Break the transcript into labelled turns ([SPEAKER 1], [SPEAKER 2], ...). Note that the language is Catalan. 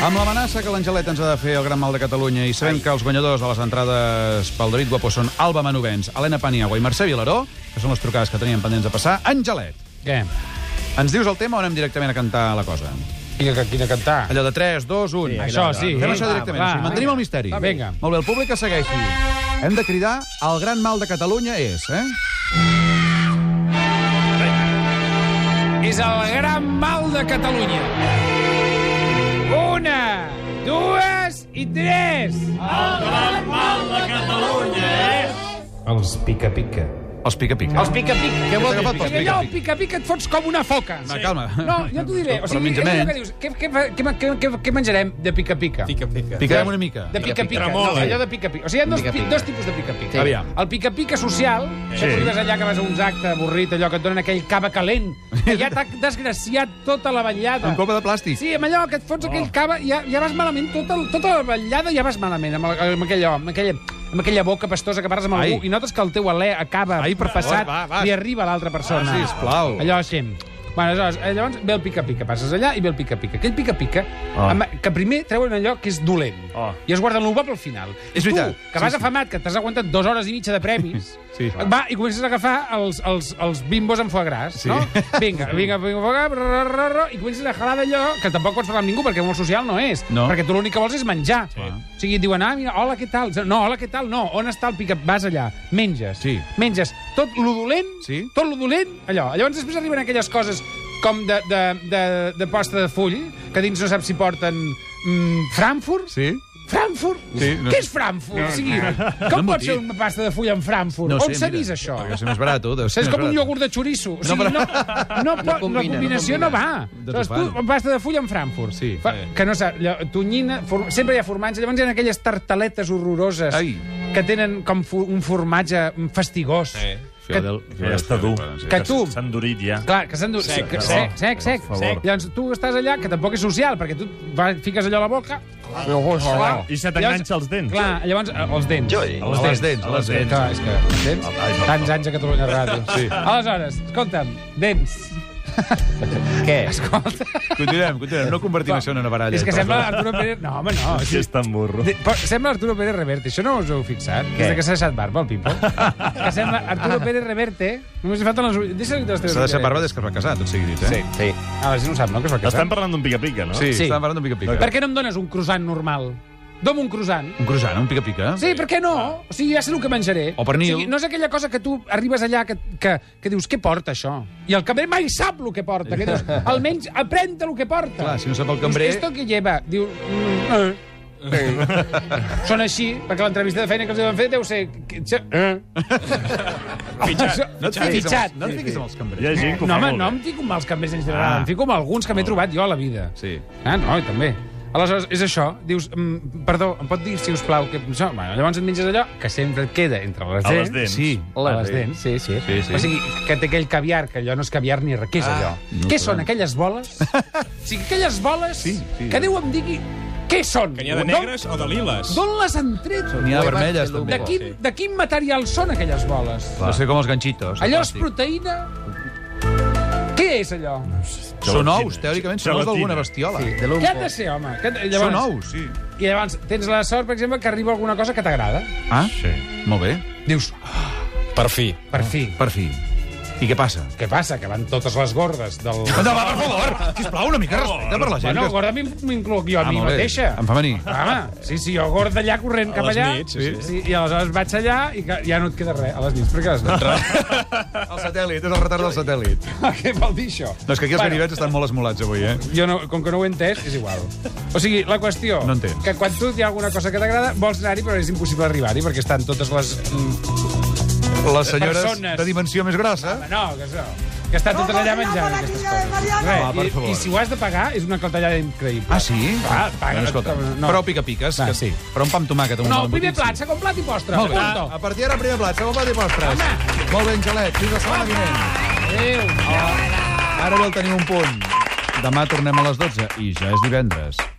[SPEAKER 1] l'amenaça que l'Angelet ens ha de fer el Gran Mal de Catalunya i sabem que els guanyadors de les entrades pel David Guapo són Alba Manovens, Helena Paniagua i Mercè Vilaró, que són les trucades que teníem pendents de passar. Angelet,
[SPEAKER 2] Què?
[SPEAKER 1] ens dius el tema o anem directament a cantar la cosa?
[SPEAKER 2] Quina, quina cantar?
[SPEAKER 1] Allò de 3, 2, 1...
[SPEAKER 2] Això, sí.
[SPEAKER 1] Fem
[SPEAKER 2] eh?
[SPEAKER 1] això directament,
[SPEAKER 2] Va,
[SPEAKER 1] així, mantenim el misteri.
[SPEAKER 2] Va, vinga.
[SPEAKER 1] Molt bé, el públic que segueixi. Hem de cridar el gran mal de Catalunya és, eh?
[SPEAKER 2] És el gran mal de Catalunya. Una, dues i tres.
[SPEAKER 3] Els pica-pica.
[SPEAKER 1] Els pica-pica. Els
[SPEAKER 2] pica-pica.
[SPEAKER 1] Què vol dir
[SPEAKER 2] Agafat pels
[SPEAKER 1] pica-pica?
[SPEAKER 2] Allò, el pica-pica et fots com una foca.
[SPEAKER 1] Va, calma.
[SPEAKER 2] No, jo t'ho diré. O
[SPEAKER 1] Però
[SPEAKER 2] sigui,
[SPEAKER 1] menja
[SPEAKER 2] és allò
[SPEAKER 1] menys.
[SPEAKER 2] que dius, què, què, fa- què, ma- què, què, què menjarem de pica-pica?
[SPEAKER 3] Pica-pica.
[SPEAKER 1] Picarem una mica.
[SPEAKER 2] De pica-pica. No,
[SPEAKER 3] Tremola.
[SPEAKER 2] allò de pica-pica. O sigui, hi ha dos, pi- dos tipus de pica-pica.
[SPEAKER 1] Sí. Aviam.
[SPEAKER 2] El pica-pica social, que tu vas allà que vas a uns actes avorrit, allò que et donen aquell cava calent, que ja t'ha desgraciat tota la vetllada.
[SPEAKER 1] Amb copa de plàstic.
[SPEAKER 2] Sí, amb allò que et
[SPEAKER 1] Oh.
[SPEAKER 2] fots aquell cava, ja, ja vas malament, tota, el- tota la ballada ja vas malament, amb, el, amb, aquella, amb, aquella, amb aquella boca pastosa que parles amb
[SPEAKER 1] Ai.
[SPEAKER 2] algú i notes que el teu alè acaba
[SPEAKER 1] Ai, per favor,
[SPEAKER 2] passat,
[SPEAKER 1] va, va.
[SPEAKER 2] li arriba a l'altra persona.
[SPEAKER 1] Ah, sisplau.
[SPEAKER 2] Allò així. Bueno, aleshores, eh, llavors ve el pica-pica, passes allà i ve el pica-pica. Aquell pica-pica,
[SPEAKER 1] Ah.
[SPEAKER 2] oh. que primer treuen allò que és dolent
[SPEAKER 1] Ah.
[SPEAKER 2] i es guarden el bo pel final.
[SPEAKER 1] És veritat.
[SPEAKER 2] Tu, que
[SPEAKER 1] Sí,
[SPEAKER 2] vas
[SPEAKER 1] sí.
[SPEAKER 2] afamat, que t'has aguantat dues hores i mitja de premis,
[SPEAKER 1] Sí.
[SPEAKER 2] va i comences a agafar els, els, els bimbos amb foie gras,
[SPEAKER 1] Sí.
[SPEAKER 2] no? Vinga, vinga, vinga, vinga, ra, ra, ra, i comences a jalar d'allò que tampoc pots parlar amb ningú perquè molt social no és.
[SPEAKER 1] No.
[SPEAKER 2] Perquè tu l'únic que vols és menjar.
[SPEAKER 1] Sí.
[SPEAKER 2] O sigui, et diuen, ah, mira, hola, què tal? No, hola, què tal? No, on està el pica? Vas allà, menges.
[SPEAKER 1] Sí.
[SPEAKER 2] Menges tot lo dolent,
[SPEAKER 1] Sí.
[SPEAKER 2] tot lo dolent, allò. Llavors després arriben aquelles coses com de, de, de, de posta de full, que dins no saps si porten mm, Frankfurt,
[SPEAKER 1] Sí?
[SPEAKER 2] Frankfurt?
[SPEAKER 1] Sí, no sé.
[SPEAKER 2] Què és Frankfurt? o sigui,
[SPEAKER 1] No
[SPEAKER 2] com
[SPEAKER 1] m'ho
[SPEAKER 2] pot ser
[SPEAKER 1] dic.
[SPEAKER 2] una pasta de full amb Frankfurt? On s'ha
[SPEAKER 1] mira.
[SPEAKER 2] vist això?
[SPEAKER 1] Perquè és més barat, deu ser
[SPEAKER 2] És
[SPEAKER 1] més
[SPEAKER 2] com un
[SPEAKER 1] barat.
[SPEAKER 2] iogurt de xoriço. O sigui, no, no, pot, la combinació no, va.
[SPEAKER 1] De
[SPEAKER 2] Llavors,
[SPEAKER 1] topar.
[SPEAKER 2] tu, pasta de full amb Frankfurt.
[SPEAKER 1] Sí.
[SPEAKER 2] Fa,
[SPEAKER 1] Eh.
[SPEAKER 2] que no sap, allò, tonyina, for, sempre hi ha formatge. Llavors hi ha aquelles tartaletes horroroses
[SPEAKER 1] Ai.
[SPEAKER 2] que tenen com fo- un formatge fastigós. Que,
[SPEAKER 1] Fiodel-
[SPEAKER 4] Ja està dur.
[SPEAKER 2] que tu...
[SPEAKER 4] S'ha endurit ja.
[SPEAKER 2] Clar, que s'han... Sec, sec, sec, sec, sec.
[SPEAKER 4] favor.
[SPEAKER 2] Llavors tu estàs allà, que tampoc és social, perquè tu va, fiques allò a la boca... Clar.
[SPEAKER 4] I se t'enganxa els dents.
[SPEAKER 2] Clar, llavors, eh, els dents.
[SPEAKER 1] A les dents, a les dents.
[SPEAKER 2] Clar, és que... Dents?
[SPEAKER 4] Ai, no.
[SPEAKER 2] Tants anys a Catalunya Ràdio. Sí. Aleshores, escolta'm, dents. Què? Escolta...
[SPEAKER 1] Continuem, continuem. No convertim això en una baralla.
[SPEAKER 2] és que sembla Arturo Pérez... No, home, no.
[SPEAKER 4] Aquí està en burro.
[SPEAKER 2] De- però Sembla Arturo Pérez Reverte, això no us heu fixat? Què? Des de que s'ha deixat barba, el Pipo. que sembla Arturo Pérez Reverte... Només li falten les... ull- Deixa-li les teves
[SPEAKER 1] S'ha deixat
[SPEAKER 2] ulleretes.
[SPEAKER 1] barba des que es va casar, tot sigui dit, eh?
[SPEAKER 2] Sí. Ah, la gent ho sap, no? Que es va casar.
[SPEAKER 4] Estem parlant d'un pica-pica, no?
[SPEAKER 1] Sí,
[SPEAKER 2] Sí.
[SPEAKER 1] estàvem parlant d'un pica-pica.
[SPEAKER 2] Per què no em dones un croissant normal? Dom un croissant.
[SPEAKER 1] Un croissant, un pica-pica?
[SPEAKER 2] Sí, per què no? O sigui, ja sé el que menjaré.
[SPEAKER 1] Ah. O pernil.
[SPEAKER 2] O sigui, no és aquella cosa que tu arribes allà que, que, que dius, què porta això? I el cambrer mai sap el que porta. Que dius, almenys aprèn-te el que porta.
[SPEAKER 1] Clar, si no sap el cambrer-
[SPEAKER 2] Dius, esto que lleva. Diu... Mm, eh. Són així, perquè l'entrevista de feina que els van fer deu ser... que- que- Eh. Fitxat.
[SPEAKER 1] No et fiquis,
[SPEAKER 2] Fitxat.
[SPEAKER 1] Amb, no et fiquis amb els cambrers.
[SPEAKER 4] Hi ha gent que ho
[SPEAKER 2] No,
[SPEAKER 4] fa
[SPEAKER 2] home,
[SPEAKER 4] molt
[SPEAKER 2] no
[SPEAKER 4] bé.
[SPEAKER 2] em fico amb els cambrers en general. Em fico amb alguns que m'he trobat jo a la vida.
[SPEAKER 1] Oh. Sí.
[SPEAKER 2] Ah, no, i també. Aleshores, és això. Dius, mm, perdó, em pot dir, si us plau, que... Això, bueno, llavors et menges allò que sempre et queda entre les
[SPEAKER 4] A
[SPEAKER 2] dents.
[SPEAKER 4] les dents.
[SPEAKER 1] Ah, Sí.
[SPEAKER 2] A les dents, sí, sí.
[SPEAKER 1] Sí, sí.
[SPEAKER 2] O sigui, que té aquell caviar, que allò no és caviar ni res. Què és allò? què són aquelles boles? o sigui, aquelles boles
[SPEAKER 1] Sí, sí.
[SPEAKER 2] que Déu em digui què són.
[SPEAKER 5] Que n'hi ha de
[SPEAKER 2] D'on-
[SPEAKER 5] negres o de liles.
[SPEAKER 2] D'on les han tret?
[SPEAKER 1] N'hi ha vermelles, també.
[SPEAKER 2] De quin, de quin material són aquelles boles?
[SPEAKER 1] Va ser com els ganxitos.
[SPEAKER 2] Allò és
[SPEAKER 1] Fantàstic.
[SPEAKER 2] proteïna? Què és allò?
[SPEAKER 1] Són ous, teòricament, són ous
[SPEAKER 4] Gelatina.
[SPEAKER 1] d'alguna bestiola. Sí,
[SPEAKER 2] Què ha de ser, home? Què,
[SPEAKER 1] Són ous, sí.
[SPEAKER 2] I llavors tens la sort, per exemple, que arriba alguna cosa que t'agrada.
[SPEAKER 1] Ah, sí. molt bé.
[SPEAKER 2] Dius, "Ah,
[SPEAKER 5] Per fi.
[SPEAKER 2] per fi.
[SPEAKER 1] Per fi. I què passa?
[SPEAKER 2] Què passa? Que van totes les gordes del...
[SPEAKER 1] No, va, per favor, sisplau, una mica de
[SPEAKER 4] Oh,
[SPEAKER 1] respecte per la gent.
[SPEAKER 2] Bueno,
[SPEAKER 1] que-
[SPEAKER 2] gorda m'in- m'incloc jo a mi
[SPEAKER 1] Ah, molt bé.
[SPEAKER 2] mateixa.
[SPEAKER 1] En femení.
[SPEAKER 2] Home, sí, sí, jo gorda allà corrent cap
[SPEAKER 5] les
[SPEAKER 2] allà.
[SPEAKER 5] nits, sí, sí.
[SPEAKER 2] I aleshores vaig allà i que ja no et queda res a les nits, perquè a les nits.
[SPEAKER 1] El satèl·lit, és el retard del satèl·lit.
[SPEAKER 2] Què vol dir això?
[SPEAKER 1] No, és que aquí els ganivets estan molt esmolats avui, eh?
[SPEAKER 2] Jo no, com que no ho he entès, és igual. O sigui, la qüestió...
[SPEAKER 1] No entens.
[SPEAKER 2] Que quan tu hi ha alguna cosa que t'agrada, vols anar-hi, però és impossible arribar-hi, perquè estan totes les... mm,
[SPEAKER 1] Les senyores
[SPEAKER 2] Persones.
[SPEAKER 1] de dimensió més grossa.
[SPEAKER 2] No, que això... Que estan totes allà menjant aquestes coses. Res,
[SPEAKER 1] Va, per
[SPEAKER 2] i,
[SPEAKER 1] favor.
[SPEAKER 2] I si ho has de pagar, és una clatellada increïble.
[SPEAKER 1] Ah, sí?
[SPEAKER 2] Clar, paga.
[SPEAKER 1] Bueno, escolta,
[SPEAKER 2] no.
[SPEAKER 1] Però pica-piques,
[SPEAKER 2] Va.
[SPEAKER 1] que sí. Però un pa amb tomàquet.
[SPEAKER 2] No, primer plat, segon plat i postres.
[SPEAKER 1] Molt bé.
[SPEAKER 2] Punto.
[SPEAKER 1] A partir d'ara, primer plat, segon plat i postres. Molt bé, Angelet, fins la setmana vinent.
[SPEAKER 2] Adéu.
[SPEAKER 1] Ara vol tenir un punt. Demà tornem a les 12 i ja és divendres.